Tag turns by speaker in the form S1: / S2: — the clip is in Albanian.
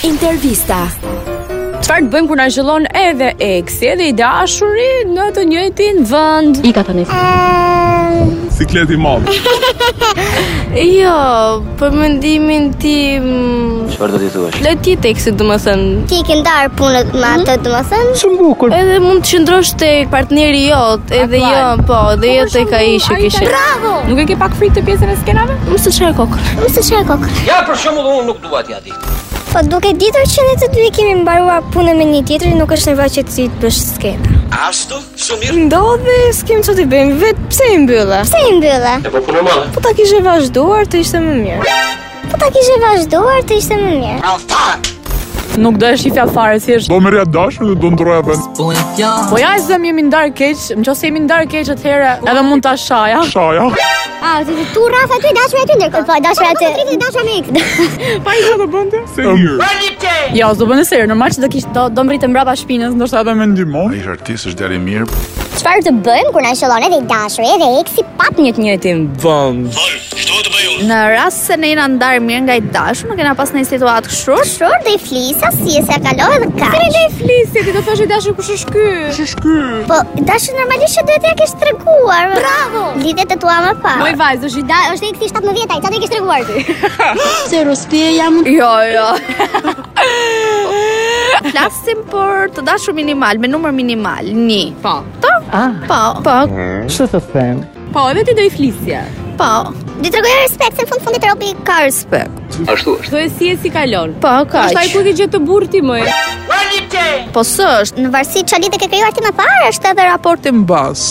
S1: Intervista.
S2: Çfarë të bëjmë kur na zhëllon edhe eksi, edhe i dashuri në të njëjtin vend?
S3: I ka të njësë.
S4: Sikleti madh.
S5: Jo, për mendimin tim...
S6: Çfarë do t'i thuash?
S5: Le ti teksit dhe më thënë. Mhm.
S7: ti ke ndarë punët me atë të më thënë
S5: Edhe mund të qëndrosh të partneri jot, edhe
S2: Aktual.
S5: jo, po, edhe jo
S2: për
S5: të ka
S2: shembull,
S5: ishë
S2: ai
S5: kështë.
S7: Bravo!
S2: Nuk e ke pak frikë të pjesën e skenave?
S5: Më së qërë kokër.
S7: Më së qërë kokër
S6: Ja për shembull unë nuk dua t'ja di.
S7: Po duke ditur që ne të dy kemi mbaruar punën me një tjetrin nuk është nevoja që ti të bësh skena
S6: Ashtu, shumë mirë.
S5: Ndodhe, s'kem që t'i bëjmë, vetë pse i mbylla?
S7: Pse i mbylla?
S6: E po punë madhe.
S5: Po ta kishe vazhduar të ishte më mirë.
S7: Po ta kishe vazhduar të ishte më mirë
S2: Nuk do e shifja fare si është.
S4: Do merja dashur dhe do ndroja vend.
S2: Po ja e zëm jemi ndar keq, nëse jemi ndar keq atëherë edhe mund ta shaja.
S4: Shaja.
S7: A, ti ti tu Rafa aty dashur aty ndërkohë Po dashur aty Po ti dashur me X
S4: Se mirë.
S2: Jo, s'do bënë serë, normal që do kish do, do mbritë mbrapa shpinës, ndoshta edhe
S4: Edhe pra, me ndihmon.
S8: Ai është artist, është djalë i mirë.
S7: Çfarë të bëjmë kur na shëllon edhe i dashuri edhe eksi pap një të njëjtin
S9: Në rast se ne jena ndarë mirë nga i dashur, nuk kena pas në situatë kështu.
S7: Shur dhe i flisa si e se kaloi dhe ka
S2: flisje, ti do thosh i dashur kush është ky?
S7: Po dashur normalisht që duhet t'ja kesh treguar Bravo Litet e tua më parë
S2: vajzë, është i
S7: Da, është eksi 17 ai, çfarë do i kesh treguar ty?
S3: Se rosti e jam...
S9: Jo, jo. Flasim për të dashur minimal, me numër minimal, një.
S2: Po.
S9: Po, po, po,
S2: Po, edhe ti do i flisje.
S9: po,
S7: Dhe tregoj respekt se në fund fundit robi ka
S9: ka respekt.
S6: Ashtu është.
S2: Do e si e si kalon.
S9: Po, ka
S2: Është ai ku ti gjetë të burti më.
S9: Po, së është.
S7: Në varësi që lidhe ke krijuar ti më parë, është edhe
S9: Raporti mbas.